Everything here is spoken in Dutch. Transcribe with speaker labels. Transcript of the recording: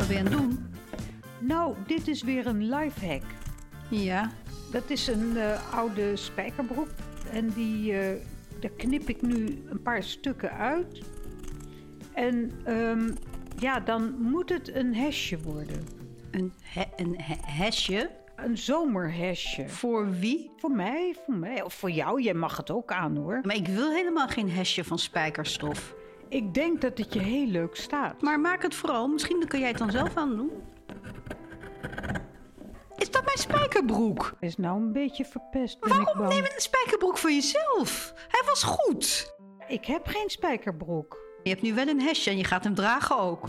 Speaker 1: alweer aan het doen? Nou, dit is weer een lifehack.
Speaker 2: Ja.
Speaker 1: Dat is een eh, oude spijkerbroek. En die, eh, daar knip ik nu een paar stukken uit. En ehm, ja, dan moet het een hesje worden.
Speaker 2: Een, he- een he- hesje.
Speaker 1: Een zomerhesje.
Speaker 2: Voor wie?
Speaker 1: Voor mij, voor mij. Of voor jou, jij mag het ook aan hoor.
Speaker 2: Maar ik wil helemaal geen hesje van spijkerstof.
Speaker 1: Ik denk dat het je heel leuk staat.
Speaker 2: Maar maak het vooral. Misschien kun jij het dan zelf aan doen. Is dat mijn spijkerbroek?
Speaker 1: Is nou een beetje verpest, ben ik
Speaker 2: Waarom
Speaker 1: bang.
Speaker 2: neem je een spijkerbroek voor jezelf? Hij was goed.
Speaker 1: Ik heb geen spijkerbroek.
Speaker 2: Je hebt nu wel een hesje en je gaat hem dragen ook.